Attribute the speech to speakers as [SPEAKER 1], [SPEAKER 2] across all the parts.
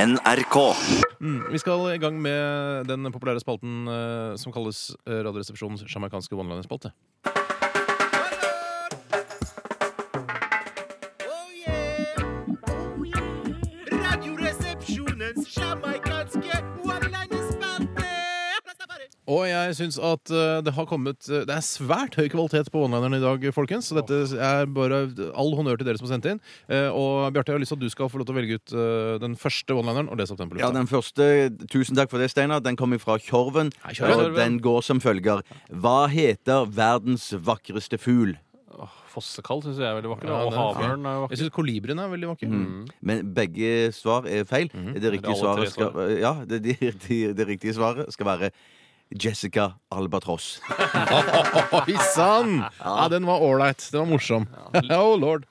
[SPEAKER 1] NRK.
[SPEAKER 2] Mm, vi skal i gang med den populære spalten eh, som kalles eh, Radioresepsjonens sjamarkanske one-liner-spalte.
[SPEAKER 3] Oh, Oh, Radioresepsjonens sjamaikanske one-liner-spalte.
[SPEAKER 2] Og jeg syns at eh, det har kommet eh, Det er svært høy kvalitet på one-lineren i dag, folkens. Så dette er bare all honnør til dere som har sendt inn. Eh, og Bjarte, jeg har lyst til at du skal få lov til å velge ut eh, den første one-lineren og lese opp den på
[SPEAKER 4] Ja,
[SPEAKER 2] lufta.
[SPEAKER 4] den første, tusen takk for det, Steinar. Den kommer fra Tjorven.
[SPEAKER 2] Hei, Tjorven.
[SPEAKER 4] Og den går som følger. Hva heter verdens vakreste fugl?
[SPEAKER 5] Fossekall syns jeg er veldig vakker.
[SPEAKER 2] Ja,
[SPEAKER 5] og
[SPEAKER 2] det er
[SPEAKER 5] havørn er jo
[SPEAKER 2] Jeg
[SPEAKER 5] vakker.
[SPEAKER 2] syns kolibrien er veldig vakker.
[SPEAKER 4] Mm. Men begge svar er feil. Det
[SPEAKER 5] Eller alle
[SPEAKER 4] riktige
[SPEAKER 5] tre
[SPEAKER 4] svaret skal Ja, det, det, det, det riktige svaret skal være Jessica Albatross.
[SPEAKER 2] Oi sann! Ja, den var ålreit. Den var morsom. oh lord.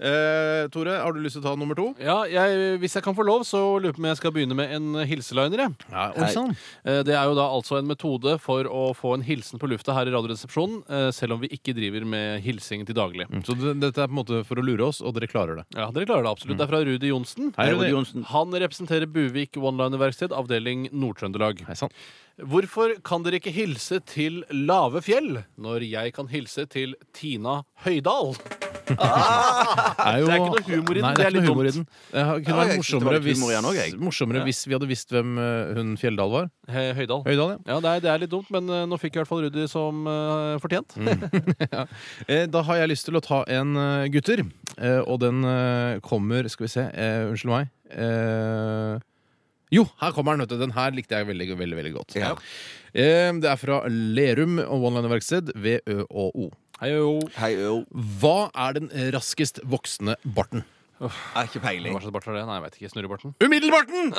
[SPEAKER 2] Eh, Tore, har du lyst til å ta nummer to?
[SPEAKER 5] Ja, jeg, Hvis jeg kan få lov, så lurer jeg på om jeg skal begynne med en hilseliner. jeg.
[SPEAKER 2] Ja,
[SPEAKER 4] oi
[SPEAKER 2] sann.
[SPEAKER 5] Eh, Det er jo da altså en metode for å få en hilsen på lufta her i Radioresepsjonen, eh, selv om vi ikke driver med hilsing til daglig.
[SPEAKER 2] Så det, dette er på en måte for å lure oss, og dere klarer det.
[SPEAKER 5] Ja, Dere klarer det absolutt. Det er fra Rudi Johnsen.
[SPEAKER 2] Hei,
[SPEAKER 4] Rudi
[SPEAKER 2] Rudi.
[SPEAKER 4] Johnsen.
[SPEAKER 5] Han representerer Buvik One-Liner-verksted, avdeling Nord-Trøndelag.
[SPEAKER 2] Hei sann.
[SPEAKER 5] Hvorfor kan dere ikke hilse til lave fjell når jeg kan hilse til Tina Høydal?
[SPEAKER 2] jo-
[SPEAKER 5] Det er ikke noe humor i den,
[SPEAKER 2] Nei,
[SPEAKER 5] det
[SPEAKER 2] det
[SPEAKER 5] er
[SPEAKER 2] er ikke
[SPEAKER 5] litt
[SPEAKER 2] noe humor i den.
[SPEAKER 5] dumt.
[SPEAKER 2] Det har- kunne
[SPEAKER 4] Ja,
[SPEAKER 2] vært
[SPEAKER 4] jeg synes det var
[SPEAKER 2] morsommere,
[SPEAKER 4] litt
[SPEAKER 2] hvis,
[SPEAKER 4] humor igjen også, jeg.
[SPEAKER 2] morsommere hvis vi hadde visst hvem eh, hun Fjelldal var.
[SPEAKER 5] He- Høydal.
[SPEAKER 2] Høydal, ja.
[SPEAKER 5] Ja, det er, det er litt dumt, men eh, nå fikk i hvert fall Rudi som eh, fortjent.
[SPEAKER 2] Eh, Da har jeg lyst til å ta en eh, gutter, eh, og den eh, kommer Skal vi se, eh, unnskyld meg. Eh, jo, her kommer den. vet du. Den her likte jeg veldig veldig, veldig godt.
[SPEAKER 4] Ja.
[SPEAKER 2] Eh, Det er fra Lerum og One-Liner-verksted ved ØÅO.
[SPEAKER 5] Hei, jo.
[SPEAKER 4] Hei, Øo.
[SPEAKER 2] Hva er den raskest voksende barten?
[SPEAKER 4] Er ikke peiling.
[SPEAKER 5] Hva slags bart er det? Nei, jeg vet ikke. Snurrebarten?
[SPEAKER 2] Umiddelbarten!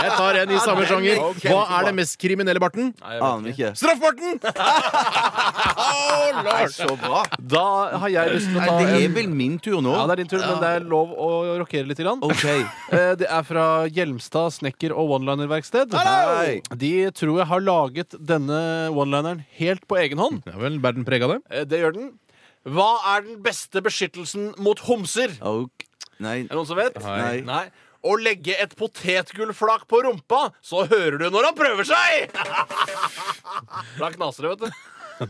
[SPEAKER 2] jeg tar en i samme sjanger.
[SPEAKER 4] ok,
[SPEAKER 2] Hva
[SPEAKER 4] bra.
[SPEAKER 2] er den mest kriminelle barten?
[SPEAKER 5] Nei, jeg vet
[SPEAKER 4] Aner ikke.
[SPEAKER 2] Straffbarten! oh,
[SPEAKER 4] Nei, så bra.
[SPEAKER 5] Da har jeg lyst til å
[SPEAKER 4] Nei,
[SPEAKER 5] ta
[SPEAKER 4] det er
[SPEAKER 5] en
[SPEAKER 4] vel min tur nå.
[SPEAKER 5] Ja, det er din tur, men det er lov å rokere litt. Grann.
[SPEAKER 4] OK.
[SPEAKER 5] Eh, Det er fra Hjelmstad snekker- og one-liner-verksted.
[SPEAKER 4] Hallo!
[SPEAKER 5] De tror jeg har laget denne one-lineren helt på egen hånd.
[SPEAKER 2] Ja vel, bærer den preg av det?
[SPEAKER 5] Eh, Det gjør den. Hva er den beste beskyttelsen mot homser? Er
[SPEAKER 4] Ok. Nei.
[SPEAKER 5] det noen som vet?
[SPEAKER 4] Nei.
[SPEAKER 5] Nei. Å legge et potetgullflak på rumpa, så hører du når han prøver seg! Da knaser det, vet du.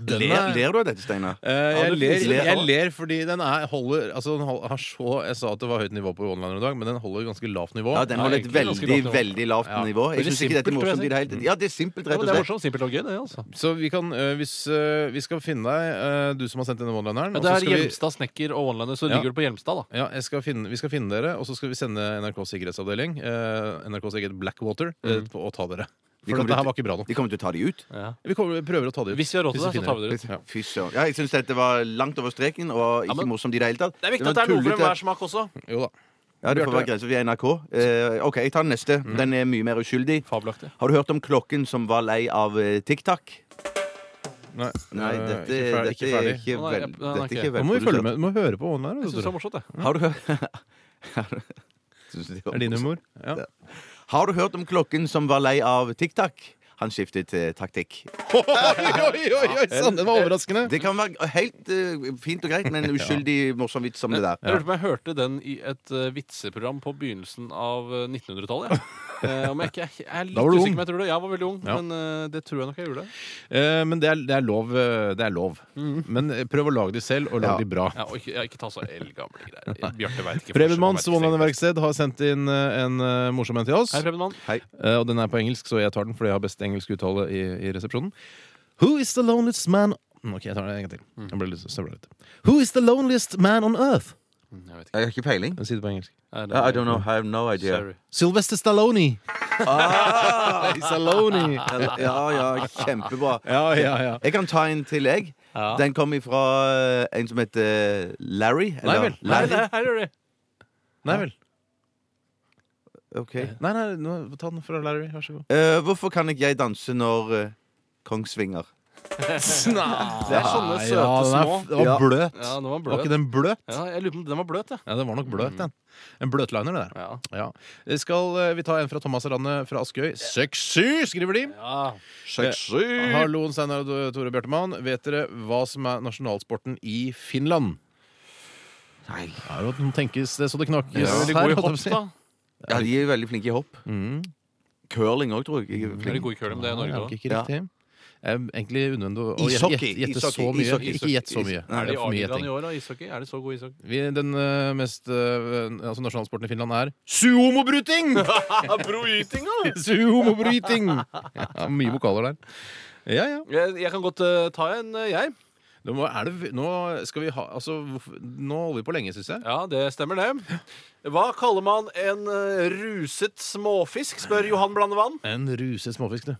[SPEAKER 2] Den
[SPEAKER 4] Ler, ler du av dette, Steinar?
[SPEAKER 2] Eh,
[SPEAKER 5] Ja,
[SPEAKER 2] jeg,
[SPEAKER 5] du
[SPEAKER 2] ler,
[SPEAKER 4] ler
[SPEAKER 2] jeg
[SPEAKER 4] også.
[SPEAKER 2] ler fordi den er, holder altså den hol- har så, Jeg sa at det var høyt nivå på one-liner i dag, men den holder ganske lavt nivå.
[SPEAKER 4] Ja, den
[SPEAKER 5] Ja,
[SPEAKER 4] holder et
[SPEAKER 5] egentlig ganske
[SPEAKER 4] veldig,
[SPEAKER 5] godt nivå.
[SPEAKER 4] veldig lavt
[SPEAKER 2] Ja.
[SPEAKER 4] nivå. Jeg
[SPEAKER 5] Veldig
[SPEAKER 4] synes ikke dette er
[SPEAKER 5] simpelt,
[SPEAKER 4] morsomt
[SPEAKER 5] tror jeg
[SPEAKER 4] i det hele tatt. Ja, det er simpelt,
[SPEAKER 5] Ja,
[SPEAKER 4] rett og
[SPEAKER 5] men det er
[SPEAKER 4] slett.
[SPEAKER 5] morsomt. Simpelt og gøy, det. altså
[SPEAKER 2] Så vi kan, eh, hvis, eh, vi skal finne deg, eh, du som har sendt inn den one-lineren
[SPEAKER 5] Ja,
[SPEAKER 2] og
[SPEAKER 5] det
[SPEAKER 2] så
[SPEAKER 5] er
[SPEAKER 2] skal vi-
[SPEAKER 5] Hjelmstad snekker og one-liner,
[SPEAKER 2] Ja.
[SPEAKER 5] så ligger du på Hjelmstad, da.
[SPEAKER 2] Ja, jeg skal finne, Vi skal finne dere, og så skal vi sende NRKs sikkerhetsavdeling, eh, NRKs eget Blackwater, eh,
[SPEAKER 5] Mm.
[SPEAKER 2] på- og ta dere. For
[SPEAKER 4] kommer
[SPEAKER 2] dette her
[SPEAKER 4] til-
[SPEAKER 2] var ikke bra nok.
[SPEAKER 4] De kommer til å ta de ut.
[SPEAKER 2] Vi kommer, vi prøver å ta det ut.
[SPEAKER 5] Hvis vi har råd til det, så tar vi det ut.
[SPEAKER 2] Ja.
[SPEAKER 4] Fy søren. Ja, jeg syns dette var langt over streken og ikke
[SPEAKER 5] men-
[SPEAKER 4] morsomt i det hele tatt.
[SPEAKER 5] Det er
[SPEAKER 4] var
[SPEAKER 5] viktig at det er noe for
[SPEAKER 4] tullete.
[SPEAKER 5] enhver smak også.
[SPEAKER 2] Jo da.
[SPEAKER 4] Ja, det får
[SPEAKER 2] Bjarte.
[SPEAKER 4] være grenser. Vi er NRK. Eh, OK, jeg tar den neste.
[SPEAKER 5] Mm.
[SPEAKER 4] Den er mye mer uskyldig.
[SPEAKER 5] Fabelaktig.
[SPEAKER 4] Har du hørt om klokken som var lei av eh, TikTok?
[SPEAKER 2] Nei,
[SPEAKER 4] Nei,
[SPEAKER 2] eh,
[SPEAKER 4] dette,
[SPEAKER 2] ikke ferdig.
[SPEAKER 4] dette
[SPEAKER 2] Ikke
[SPEAKER 4] er
[SPEAKER 2] ferdig.
[SPEAKER 4] ikke
[SPEAKER 5] Nei,
[SPEAKER 4] vel
[SPEAKER 5] jeg- den er
[SPEAKER 4] Dette er
[SPEAKER 5] ikke-
[SPEAKER 4] ikke
[SPEAKER 2] Nå må vi følge med. Du må høre på hvordan det er.
[SPEAKER 5] Jeg synes
[SPEAKER 2] Tore.
[SPEAKER 5] det var morsomt, jeg.
[SPEAKER 4] Har du hørt Synes det var
[SPEAKER 2] Er din
[SPEAKER 4] morsomt.
[SPEAKER 2] humor? Ja.
[SPEAKER 4] Har du hørt om klokken som var lei av TikTok? Han skiftet eh, taktikk.
[SPEAKER 2] Oi, oi, oi, oi, sann, den var overraskende.
[SPEAKER 4] Det kan være helt eh, fint og greit, men uskyldig morsom vits som det der.
[SPEAKER 5] Jeg lurte på om jeg hørte den i et eh, vitseprogram på begynnelsen av eh, 1900-tallet. jeg. Eh, om jeg ikke jeg er litt
[SPEAKER 2] Da var du ung.
[SPEAKER 5] usikker, men jeg tror det. Jeg var veldig ung,
[SPEAKER 2] Ja.
[SPEAKER 5] men eh, det tror jeg nok jeg gjorde.
[SPEAKER 2] Eh, men det er, det er lov. eh, Det er lov. Men eh, prøv å lage de selv, og lag
[SPEAKER 4] Ja.
[SPEAKER 2] de bra.
[SPEAKER 5] Mm. Ja, og ikke, ja, ikke ta så eldgamle greier. Bjarte veit ikke.
[SPEAKER 2] Preben Manns
[SPEAKER 5] forskjell, han vet ikke.
[SPEAKER 2] One-Liner-verksted har sendt inn eh, en eh, morsom en til oss.
[SPEAKER 5] Hei, Preben Mann.
[SPEAKER 2] Eh, Og den er på engelsk, så jeg tar den fordi jeg har best engelsk uttale i, i resepsjonen. Who is the loneliest man Mm, Ok, jeg tar den en gang til. Jeg ble litt støvla litt. Who is the loneliest man on earth?
[SPEAKER 5] Mm, Jeg vet ikke.
[SPEAKER 4] Jeg har ikke peiling.
[SPEAKER 2] Jeg sier det på engelsk.
[SPEAKER 5] Er det-
[SPEAKER 4] I don't know. I have no idea.
[SPEAKER 5] Sorry.
[SPEAKER 2] Sylvester Stallone. He's Stallone.
[SPEAKER 4] Ah! Ja, ja, kjempebra.
[SPEAKER 2] Ja, ja, ja.
[SPEAKER 4] Jeg kan ta en til, jeg.
[SPEAKER 5] Ja.
[SPEAKER 4] Den kom ifra eh, en som heter Larry.
[SPEAKER 2] Nei vel.
[SPEAKER 5] Nei,
[SPEAKER 4] Larry.
[SPEAKER 5] nei, her gjør de.
[SPEAKER 2] Nei vel.
[SPEAKER 4] Ok.
[SPEAKER 2] Nei, nei, nå- ta den fra Larry. Vær så god.
[SPEAKER 4] Eh, hvorfor kan ikke jeg danse når eh, Kongsvinger?
[SPEAKER 5] Det er sånne
[SPEAKER 2] Nei,
[SPEAKER 5] søte
[SPEAKER 2] ja, den er
[SPEAKER 5] små.
[SPEAKER 2] f- Den var
[SPEAKER 4] Ja.
[SPEAKER 2] bløt.
[SPEAKER 5] Ja, den var
[SPEAKER 2] Var
[SPEAKER 5] bløt.
[SPEAKER 2] ikke den bløt?
[SPEAKER 5] Ja, jeg lurer på om den var bløt, jeg.
[SPEAKER 2] Ja, den var nok bløt, den. En bløtliner, det der.
[SPEAKER 5] Ja.
[SPEAKER 2] Ja. Skal eh, vi ta en fra Thomas Rande fra Askøy? Sexy, skriver de.
[SPEAKER 5] Ja.
[SPEAKER 2] Hallo, Steinar og Tore Bjørtemann. Vet dere hva som er nasjonalsporten i Finland?
[SPEAKER 4] Nei.
[SPEAKER 2] Det er jo at den tenkes det så det knakes
[SPEAKER 5] Ja.
[SPEAKER 2] her.
[SPEAKER 5] De går i
[SPEAKER 2] holdt jeg på
[SPEAKER 5] hopp,
[SPEAKER 2] å si.
[SPEAKER 5] da.
[SPEAKER 4] Ja, de er veldig flinke i hopp.
[SPEAKER 2] Mm.
[SPEAKER 4] Curling òg, tror jeg. jeg. er
[SPEAKER 5] Veldig
[SPEAKER 4] flink.
[SPEAKER 5] god i curling, men det er Norge
[SPEAKER 2] Ja,
[SPEAKER 5] òg.
[SPEAKER 2] ikke riktig. Eh, Egentlig unødvendig å
[SPEAKER 4] Ishockey,
[SPEAKER 2] gjette gjette
[SPEAKER 4] ishockey,
[SPEAKER 2] så mye.
[SPEAKER 4] ishockey,
[SPEAKER 2] Ikke gjett så
[SPEAKER 4] ishockey.
[SPEAKER 2] mye.
[SPEAKER 4] Nei,
[SPEAKER 5] Er
[SPEAKER 2] det er
[SPEAKER 5] de i
[SPEAKER 2] for mye
[SPEAKER 5] A-ligaen i
[SPEAKER 2] gjetting.
[SPEAKER 5] år, da? Ishockey? Er de så gode i ishockey?
[SPEAKER 2] Vi, den eh, mest eh, altså nasjonalsporten i Finland er suomobryting!
[SPEAKER 5] Broytinga!
[SPEAKER 2] suomobryting! Ja, mye vokaler der. Ja, ja.
[SPEAKER 5] Jeg, jeg kan godt eh, ta en, eh, jeg.
[SPEAKER 2] Nå, må- er det, nå skal vi ha Altså, hvorfor- nå holder vi på lenge, syns jeg.
[SPEAKER 5] Ja, det stemmer, det. Hva kaller man en eh, ruset småfisk, spør Johan Blandevann.
[SPEAKER 2] En ruset småfisk, du.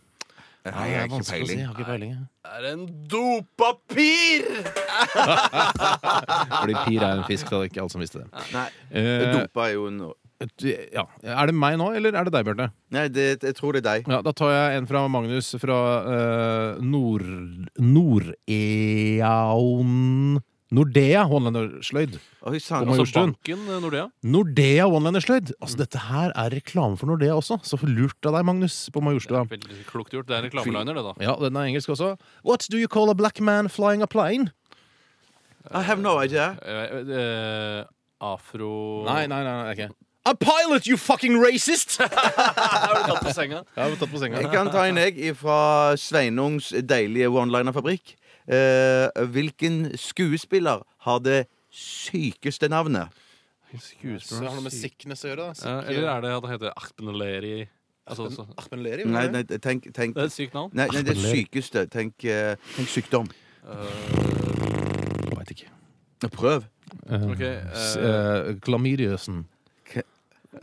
[SPEAKER 4] Nei, jeg har ikke
[SPEAKER 2] vanskelig å si.
[SPEAKER 4] peiling.
[SPEAKER 2] Jeg har ikke peiling. jeg.
[SPEAKER 5] Er en dopapir!
[SPEAKER 2] Fordi pir er en fisk, da. Det er ikke alle som visste det.
[SPEAKER 4] Nei,
[SPEAKER 2] Eh,
[SPEAKER 4] Dumpa er jo en
[SPEAKER 2] ja. Er det meg nå, eller er det deg, Bjarte?
[SPEAKER 4] Nei, det, jeg tror det er deg.
[SPEAKER 2] Ja, da tar jeg en fra Magnus fra eh, Nord... Nord-Eaon Nordea One-Liner-sløyd.
[SPEAKER 4] Oi, sann.
[SPEAKER 2] Kom og-
[SPEAKER 5] Altså
[SPEAKER 2] Majorstuen.
[SPEAKER 5] banken eh, Nordea.
[SPEAKER 2] Nordea One-Liner-sløyd! Altså, dette her er reklame for Nordea også. Så lurt av deg, Magnus, på Majorstua.
[SPEAKER 5] Veldig klokt gjort. Det er en reklameliner, det, da.
[SPEAKER 2] Ja, den er engelsk også. What do you call a black man flying a plane?
[SPEAKER 4] I have no idea.
[SPEAKER 5] Eh, eh, afro...
[SPEAKER 2] Nei, nei, nei, nei, det er ikke A pilot, you fucking racist! Jeg
[SPEAKER 5] Er du tatt på senga?
[SPEAKER 2] har tatt på senga.
[SPEAKER 4] Jeg kan ta en egg fra Sveinungs deilige one-liner-fabrikk. Eh, hvilken skuespiller har det sykeste navnet?
[SPEAKER 2] Så det har noe med sickness å gjøre, da.
[SPEAKER 5] Eh, Eller er det at han heter Achtenleri? Altså, så-
[SPEAKER 2] Achpenleri?
[SPEAKER 4] Nei, nei, tenk, tenk
[SPEAKER 5] det er et sykt navn.
[SPEAKER 4] Nei, nei det sykeste. Tenk, eh, tenk sykdom.
[SPEAKER 5] Eh,
[SPEAKER 2] Veit ikke.
[SPEAKER 4] Prøv.
[SPEAKER 5] ok, eh,
[SPEAKER 2] S- eh, Chlamydiasen.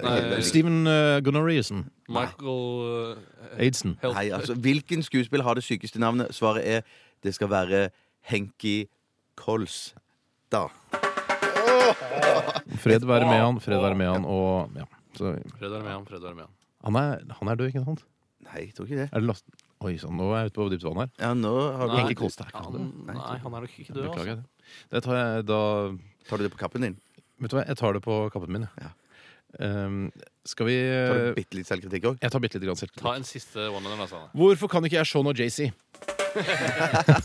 [SPEAKER 5] nei,
[SPEAKER 2] Steven uh, Gonorrheusen.
[SPEAKER 5] Michael eh,
[SPEAKER 2] Aidsen.
[SPEAKER 5] Helt-
[SPEAKER 4] Nei, altså, hvilken skuespiller har det sykeste navnet? Svaret er det skal være Henki Kolstad.
[SPEAKER 2] Fred være med han, fred være med han og ja. Så,
[SPEAKER 5] Fred er med han, Fred er med han.
[SPEAKER 2] han, er, han er død, ikke sant?
[SPEAKER 4] Nei, jeg tror ikke det.
[SPEAKER 2] Er det last... Oi sann, nå er jeg ute på dypt vann her.
[SPEAKER 4] Ja, nå har
[SPEAKER 5] Nei.
[SPEAKER 4] du,
[SPEAKER 2] Henke Kolstad er ikke
[SPEAKER 5] Han,
[SPEAKER 2] død.
[SPEAKER 5] nei, han er nok ikke død. Altså.
[SPEAKER 2] Beklager. Det tar jeg da
[SPEAKER 4] tar du det på kappen din.
[SPEAKER 2] Vet du hva, jeg tar det på kappen min. jeg. Ehm, skal vi
[SPEAKER 4] Tar
[SPEAKER 5] Eh,
[SPEAKER 4] du bitte litt selvkritikk òg?
[SPEAKER 2] Jeg tar bitte lite grann selv.
[SPEAKER 5] altså. Ta en siste one-liner, altså.
[SPEAKER 2] Hvorfor kan ikke jeg Sean og JC?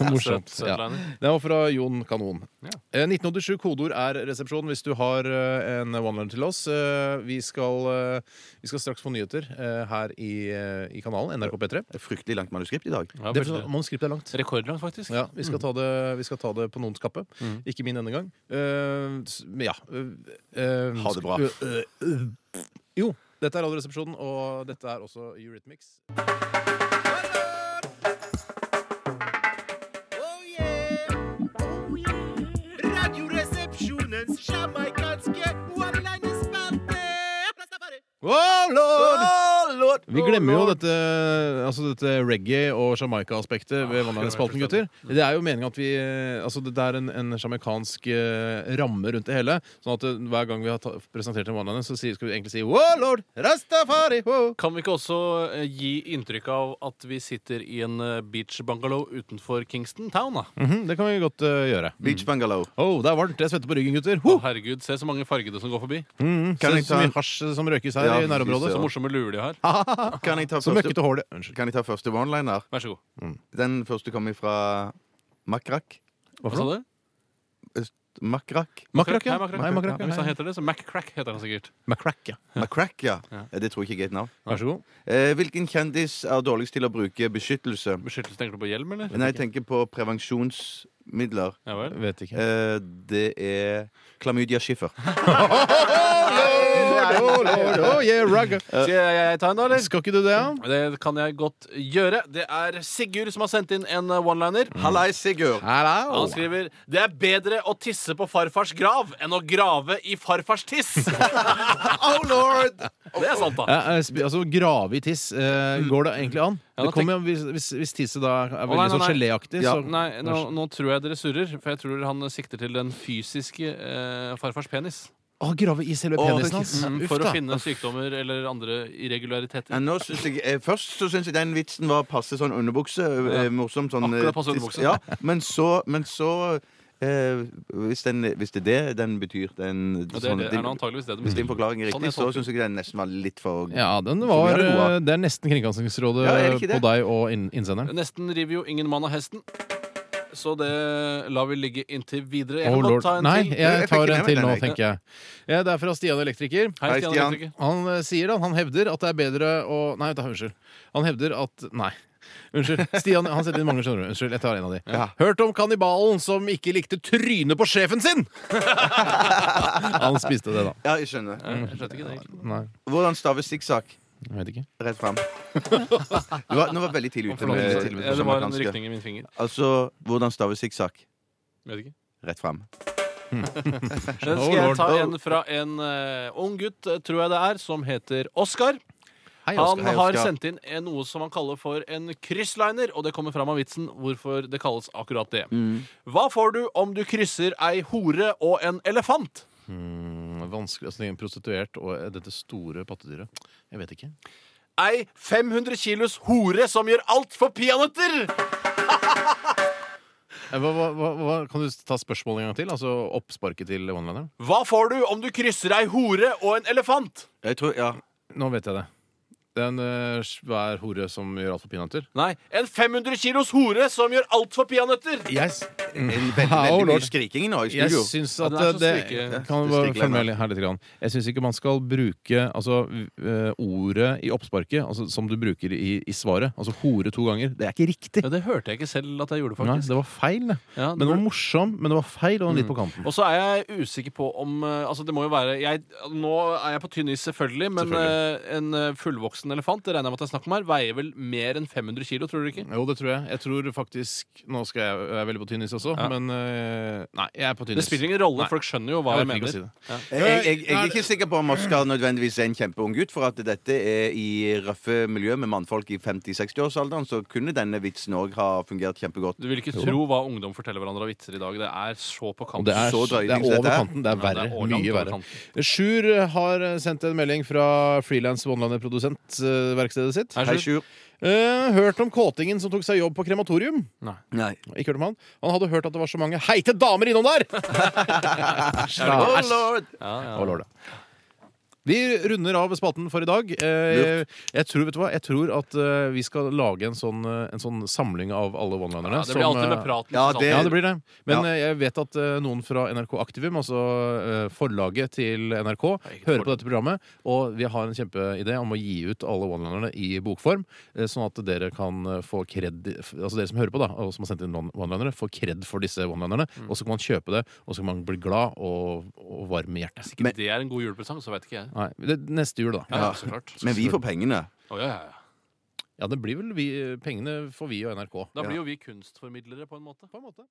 [SPEAKER 2] Morsomt.
[SPEAKER 5] Søt-
[SPEAKER 2] Ja.
[SPEAKER 5] søtliner.
[SPEAKER 2] Det var fra Jon Kanon.
[SPEAKER 5] Ja.
[SPEAKER 2] Eh, 1987 kodeord er resepsjon hvis du har eh, en one-liner til oss. Eh, Vi skal, eh, vi skal straks få nyheter eh, her i, eh, i kanalen NRK P3.
[SPEAKER 4] Fryktelig langt manuskript i dag.
[SPEAKER 5] Ja,
[SPEAKER 2] Det er
[SPEAKER 5] veldig.
[SPEAKER 2] for- Manuskriptet er langt.
[SPEAKER 5] Rekordlangt, faktisk.
[SPEAKER 2] Ja, vi skal, ta det, vi skal ta det på noens kappe.
[SPEAKER 5] Mm.
[SPEAKER 2] Ikke min denne gang. Eh, s- men ja eh, eh,
[SPEAKER 4] Ha det bra.
[SPEAKER 2] sk- eh, eh, jo, dette er Radioresepsjonen, og dette er også Eurythmics.
[SPEAKER 3] Oh yeah! Oh yeah! Radioresepsjonens jamaikanske one-liner-spalte!
[SPEAKER 2] Oh, Lord!
[SPEAKER 4] lord!
[SPEAKER 2] Vi glemmer jo dette, altså dette reggae- og Jamaica-aspektet
[SPEAKER 4] Ah,
[SPEAKER 2] ved Vannlandsspalten, gutter. Det er jo meningen at vi Altså, det er en, en jamaicansk eh, ramme rundt det hele. Sånn at eh, hver gang vi har ta, presentert en vannlander, så sier, skal vi egentlig si Wow, lord! Rastafari! Wow.
[SPEAKER 5] Kan vi ikke også eh, gi inntrykk av at vi sitter i en eh, beach bungalow utenfor Kingston Town? da?
[SPEAKER 2] Mhm, det kan vi godt eh, gjøre.
[SPEAKER 4] Beach Bungalow.
[SPEAKER 2] Oh, det er varmt. Jeg svetter på ryggen, gutter.
[SPEAKER 5] Å,
[SPEAKER 2] Ho!
[SPEAKER 5] herregud, se så mange fargede som går forbi.
[SPEAKER 2] Mm,
[SPEAKER 4] Kan
[SPEAKER 2] se
[SPEAKER 4] jeg ta
[SPEAKER 2] så
[SPEAKER 4] en-
[SPEAKER 2] mye hasj som røkes her
[SPEAKER 4] Ja,
[SPEAKER 2] i nærområdet.
[SPEAKER 4] fy
[SPEAKER 5] Så
[SPEAKER 2] Så,
[SPEAKER 4] søren.
[SPEAKER 5] morsomme luer de har.
[SPEAKER 2] Ah!
[SPEAKER 4] Kan jeg ta
[SPEAKER 2] så
[SPEAKER 4] første,
[SPEAKER 2] møkkete hår det Unnskyld.
[SPEAKER 4] kan jeg ta første one-liner?
[SPEAKER 5] Vær så god.
[SPEAKER 4] Den første kommer fra Makrak.
[SPEAKER 2] Hva
[SPEAKER 5] Hva sa du?
[SPEAKER 4] Makrak?
[SPEAKER 2] Makrak, ja.
[SPEAKER 5] Nei,
[SPEAKER 2] Nei,
[SPEAKER 5] Macrack, ja. Hvis han
[SPEAKER 2] makrak.
[SPEAKER 5] heter det, så Maccrack heter han sikkert.
[SPEAKER 2] Macrack, ja.
[SPEAKER 4] Makrak, ja.
[SPEAKER 5] Ja.
[SPEAKER 4] ja. Det tror jeg ikke er et navn.
[SPEAKER 2] Vær så god.
[SPEAKER 4] Eh, hvilken kjendis er dårligst til å bruke beskyttelse?
[SPEAKER 5] Beskyttelse, tenker du på hjelm, eller?
[SPEAKER 4] Nei, jeg tenker på prevensjonsmidler.
[SPEAKER 5] Ja vel.
[SPEAKER 2] Vet ikke.
[SPEAKER 4] Eh, det er Klamydia Schiffer.
[SPEAKER 2] Oh, lord, oh, yeah, rugga.
[SPEAKER 5] Skal jeg ta en, da, eller?
[SPEAKER 2] Skal ikke du det, ja?
[SPEAKER 5] Det kan jeg godt gjøre. Det er Sigurd som har sendt inn en eh, one-liner.
[SPEAKER 4] Hallei, Sigurd.
[SPEAKER 5] Han skriver Det er bedre å tisse på farfars grav enn å grave i farfars tiss.
[SPEAKER 4] Oh lord!
[SPEAKER 5] Det er sant, da.
[SPEAKER 2] Ja, eh, sp- altså Grave i tiss, eh, går det egentlig an?
[SPEAKER 5] Ja, da
[SPEAKER 2] det kommer, jo an- hvis, hvis, hvis tisset da er
[SPEAKER 5] nei,
[SPEAKER 2] veldig
[SPEAKER 5] nei,
[SPEAKER 2] sånn
[SPEAKER 5] nei.
[SPEAKER 2] geléaktig,
[SPEAKER 4] Ja,
[SPEAKER 2] så
[SPEAKER 5] Nei, nå, nå tror jeg dere surrer, for jeg tror han sikter til den fysiske eh, farfars penis.
[SPEAKER 2] Å, grave i selve
[SPEAKER 4] Å,
[SPEAKER 2] penisen hans?
[SPEAKER 4] det-
[SPEAKER 2] Mm. Uff
[SPEAKER 5] Mm, For å
[SPEAKER 2] da.
[SPEAKER 5] finne sykdommer eller andre irregulariteter.
[SPEAKER 4] Ja, nå synes jeg, eh, først så syns jeg den vitsen var passe sånn underbukse. Eh, morsom sånn eh,
[SPEAKER 5] Akkurat passe
[SPEAKER 4] tis-
[SPEAKER 5] underbukse.
[SPEAKER 4] Ja, men så, men så eh, hvis, den, hvis det er det den betyr den,
[SPEAKER 5] Og det
[SPEAKER 2] sånn
[SPEAKER 5] er, det, er
[SPEAKER 4] din,
[SPEAKER 5] nå antageligvis det de
[SPEAKER 4] Hvis din
[SPEAKER 5] bestiller.
[SPEAKER 4] forklaring er
[SPEAKER 5] Sånn
[SPEAKER 4] riktig,
[SPEAKER 5] jeg tolker
[SPEAKER 4] så syns jeg den nesten var litt for
[SPEAKER 2] Ja, den
[SPEAKER 4] Så
[SPEAKER 2] var
[SPEAKER 4] vi er gode.
[SPEAKER 2] eh, Det er nesten Kringkastingsrådet
[SPEAKER 4] Ja, er det ikke
[SPEAKER 2] på
[SPEAKER 4] det?
[SPEAKER 2] deg og inn, innsenderen.
[SPEAKER 5] Nesten river jo ingen mann av hesten. så det lar vi ligge inntil videre. Jeg
[SPEAKER 2] Oh,
[SPEAKER 5] kan
[SPEAKER 2] lord.
[SPEAKER 5] godt ta en
[SPEAKER 2] Nei,
[SPEAKER 5] ting.
[SPEAKER 2] jeg
[SPEAKER 4] Jeg fikk
[SPEAKER 2] tar
[SPEAKER 4] ikke
[SPEAKER 2] en
[SPEAKER 4] nevnt
[SPEAKER 2] til
[SPEAKER 4] den,
[SPEAKER 2] nå,
[SPEAKER 4] jeg.
[SPEAKER 2] tenker jeg. Ja, det er fra Stian Elektriker.
[SPEAKER 5] Hei,
[SPEAKER 4] Hei,
[SPEAKER 5] Stian.
[SPEAKER 4] Stian.
[SPEAKER 5] Elektriker.
[SPEAKER 2] Han eh, sier da, han hevder at det er bedre å Nei, vet du, unnskyld. Han hevder at Nei. Unnskyld. Stian, han setter inn mange, skjønner du. Unnskyld, jeg tar en av de.
[SPEAKER 4] Ja.
[SPEAKER 2] Hørt om kannibalen som ikke likte trynet på sjefen sin! han spiste det, da.
[SPEAKER 4] Ja, jeg skjønner.
[SPEAKER 5] Jeg skjønte ikke det. egentlig.
[SPEAKER 2] Nei,
[SPEAKER 4] Hvordan staves sikksakk?
[SPEAKER 2] jeg vet ikke.
[SPEAKER 4] Rett fram. Du var, nå var jeg veldig tidlig ute.
[SPEAKER 5] Forlåt,
[SPEAKER 4] Med,
[SPEAKER 5] sorry.
[SPEAKER 4] til- med
[SPEAKER 5] Ja, det var en
[SPEAKER 4] amerikanske.
[SPEAKER 5] rykning i min finger.
[SPEAKER 4] Altså, hvordan staves sikksakk?
[SPEAKER 5] Vet ikke.
[SPEAKER 4] Rett fram.
[SPEAKER 5] Men
[SPEAKER 2] Oh,
[SPEAKER 5] skal jeg
[SPEAKER 2] lord.
[SPEAKER 5] ta en fra en eh, ung gutt, eh, tror jeg det er, som heter Oskar.
[SPEAKER 2] Hei,
[SPEAKER 5] Han
[SPEAKER 2] Oskar.
[SPEAKER 4] Hei,
[SPEAKER 5] har
[SPEAKER 4] Oskar.
[SPEAKER 5] sendt inn en- noe som han kaller for en kryssliner, og det kommer fram av vitsen hvorfor det kalles akkurat det. Hva får du om du krysser ei hore og en elefant?
[SPEAKER 2] Mm, Vanskelig å snakke om prostituert og eh, dette store pattedyret. Jeg vet ikke.
[SPEAKER 5] Ei 500 kilos hore som gjør alt for peanøtter!
[SPEAKER 2] Eh, Hva, hva, hva, hva- kan du ta spørsmålet en gang til? Altså oppsparket til onelineren?
[SPEAKER 5] Hva får du om du krysser ei hore og en elefant?
[SPEAKER 4] Jeg tror, ja.
[SPEAKER 2] Nå vet jeg det. Det er en eh, svær hore som gjør alt for peanøtter.
[SPEAKER 5] Nei, en 500 kilos hore som gjør alt for peanøtter!
[SPEAKER 2] Yes.
[SPEAKER 4] En veldig,
[SPEAKER 2] Wow,
[SPEAKER 4] veldig
[SPEAKER 2] lord.
[SPEAKER 4] mye skriking nå i
[SPEAKER 2] Jeg
[SPEAKER 4] studio.
[SPEAKER 2] syns
[SPEAKER 5] Ja,
[SPEAKER 2] at
[SPEAKER 5] den
[SPEAKER 2] eh,
[SPEAKER 5] er så
[SPEAKER 2] det Kan jeg
[SPEAKER 5] stryke-
[SPEAKER 4] strykelei,
[SPEAKER 2] bare følge med
[SPEAKER 4] da.
[SPEAKER 2] litt- her litt grann. Jeg syns ikke man skal bruke altså, eh, ordet i oppsparket altså, som du bruker i, i svaret. Altså hore to ganger. Det er ikke riktig.
[SPEAKER 5] Ja, det hørte jeg ikke selv at jeg gjorde,
[SPEAKER 2] Nei,
[SPEAKER 5] faktisk.
[SPEAKER 2] det var feil. det.
[SPEAKER 5] Ja,
[SPEAKER 2] Men
[SPEAKER 5] det
[SPEAKER 2] det var
[SPEAKER 5] burde-
[SPEAKER 2] morsom, men det var feil, og den litt på kanten.
[SPEAKER 5] Og så er jeg usikker på om eh, Altså, det må jo være jeg, Nå er jeg på tynn is, selvfølgelig, men eh, en eh, fullvoksen elefant det regner jeg med at det er snakk om her, veier vel mer enn 500 kilo, tror du ikke?
[SPEAKER 2] Jo, det tror jeg. Jeg tror faktisk Nå skal jeg, jeg er veldig på tynn is også,
[SPEAKER 5] Ja.
[SPEAKER 2] men eh, Nei, jeg er på tynn
[SPEAKER 5] Det
[SPEAKER 2] is.
[SPEAKER 5] spiller ingen rolle,
[SPEAKER 2] Nei.
[SPEAKER 5] folk skjønner jo hva
[SPEAKER 2] Jeg
[SPEAKER 5] jeg,
[SPEAKER 2] orker ikke å si
[SPEAKER 5] mener.
[SPEAKER 2] det.
[SPEAKER 4] Jeg, jeg, jeg er ikke sikker på om Oskar nødvendigvis er en kjempeung gutt, for at dette er i røffe miljø med mannfolk i 50-60-årsalderen, så kunne denne vitsen òg ha fungert kjempegodt.
[SPEAKER 5] Du vil ikke tro hva ungdom forteller hverandre av vitser i dag. Det er så
[SPEAKER 2] Og
[SPEAKER 5] på kant.
[SPEAKER 2] det er,
[SPEAKER 4] Så
[SPEAKER 2] det
[SPEAKER 4] drøyting
[SPEAKER 2] er
[SPEAKER 4] som dette
[SPEAKER 2] over
[SPEAKER 4] er.
[SPEAKER 2] kanten. Det er
[SPEAKER 5] Ja,
[SPEAKER 2] verre.
[SPEAKER 5] det er langt
[SPEAKER 2] mye
[SPEAKER 5] over
[SPEAKER 2] verre.
[SPEAKER 5] kanten.
[SPEAKER 2] Sjur har sendt en melding fra frilans Vonlander-produsentverkstedet sitt.
[SPEAKER 5] Er
[SPEAKER 4] Hei,
[SPEAKER 5] det sjukt?
[SPEAKER 4] Sjur.
[SPEAKER 2] Eh, hørt om kåtingen som tok seg jobb på krematorium.
[SPEAKER 4] Nei.
[SPEAKER 2] Ikke hørt om Han Han hadde hørt at det var så mange heite damer innom der!
[SPEAKER 4] Oh,
[SPEAKER 2] Æsj.
[SPEAKER 4] lord!
[SPEAKER 5] Ja, ja.
[SPEAKER 2] Å, lord, ja. Vi runder av spalten for i dag. Eh, jeg, tror, vet du hva? jeg tror at eh, vi skal lage en sånn, eh, en sånn samling av alle one-linerne.
[SPEAKER 5] Ja, det blir
[SPEAKER 2] som,
[SPEAKER 5] alltid
[SPEAKER 2] eh,
[SPEAKER 5] med praten.
[SPEAKER 4] ja,
[SPEAKER 5] Susanne.
[SPEAKER 4] det-
[SPEAKER 2] ja, det blir det. Men
[SPEAKER 4] Ja.
[SPEAKER 2] eh, jeg vet at eh, noen fra NRK Aktivum, altså eh, forlaget til NRK, hører
[SPEAKER 5] ikke forlag.
[SPEAKER 2] på dette programmet, og vi har en kjempeidé om å gi ut alle one-linerne i bokform, eh, sånn at dere kan eh, få kred Altså dere som hører på, da, og som har sendt inn one- one-linere, får kred for disse one-linerne. Og så kan man kjøpe det, og så kan man bli glad og, og varm i hjertet.
[SPEAKER 5] Ikke det er en god julepresang, så veit ikke jeg.
[SPEAKER 2] Nei, det, neste jul, da.
[SPEAKER 5] Ja,
[SPEAKER 4] Ja.
[SPEAKER 5] så klart.
[SPEAKER 4] Men vi får pengene.
[SPEAKER 5] Å, ja, ja, ja.
[SPEAKER 2] Ja, det blir vel vi Pengene får vi og NRK.
[SPEAKER 5] Da blir jo vi kunstformidlere, på en måte.
[SPEAKER 2] På en måte.